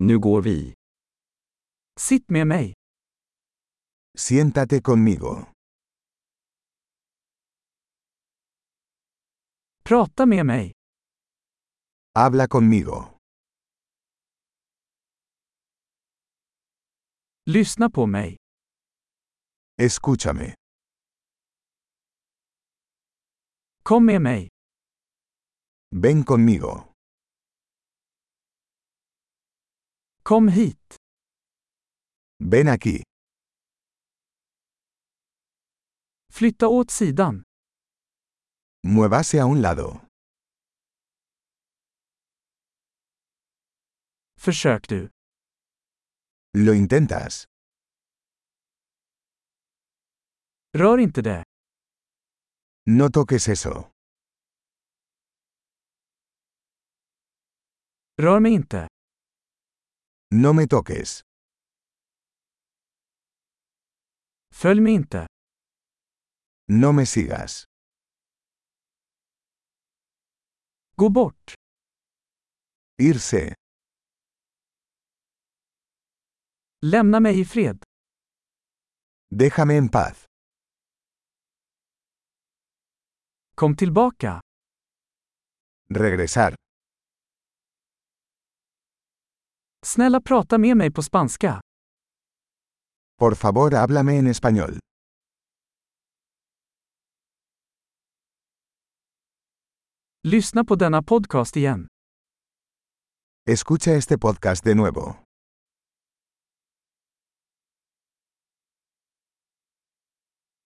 Nu går vi. Sitt med mig. Siéntate conmigo. Prata med mig. Habla conmigo. Lyssna på mig. Escúchame. Kom med mig. Ven conmigo. Kom hit. Ven aquí. Flytta åt sidan. Muévase a un lado. Försök du. Lo intentas. Rör inte det. No toques eso. Rör mig inte. No me toques. Följ mig inte. No me sigas. Gå bort. Irse. Lämna mig i fred. Déjame en paz. Kom tillbaka. Regresar. Snälla prata med mig på spanska. Por favor, háblame en español. Lyssna på denna podcast igen. Escucha este podcast de nuevo.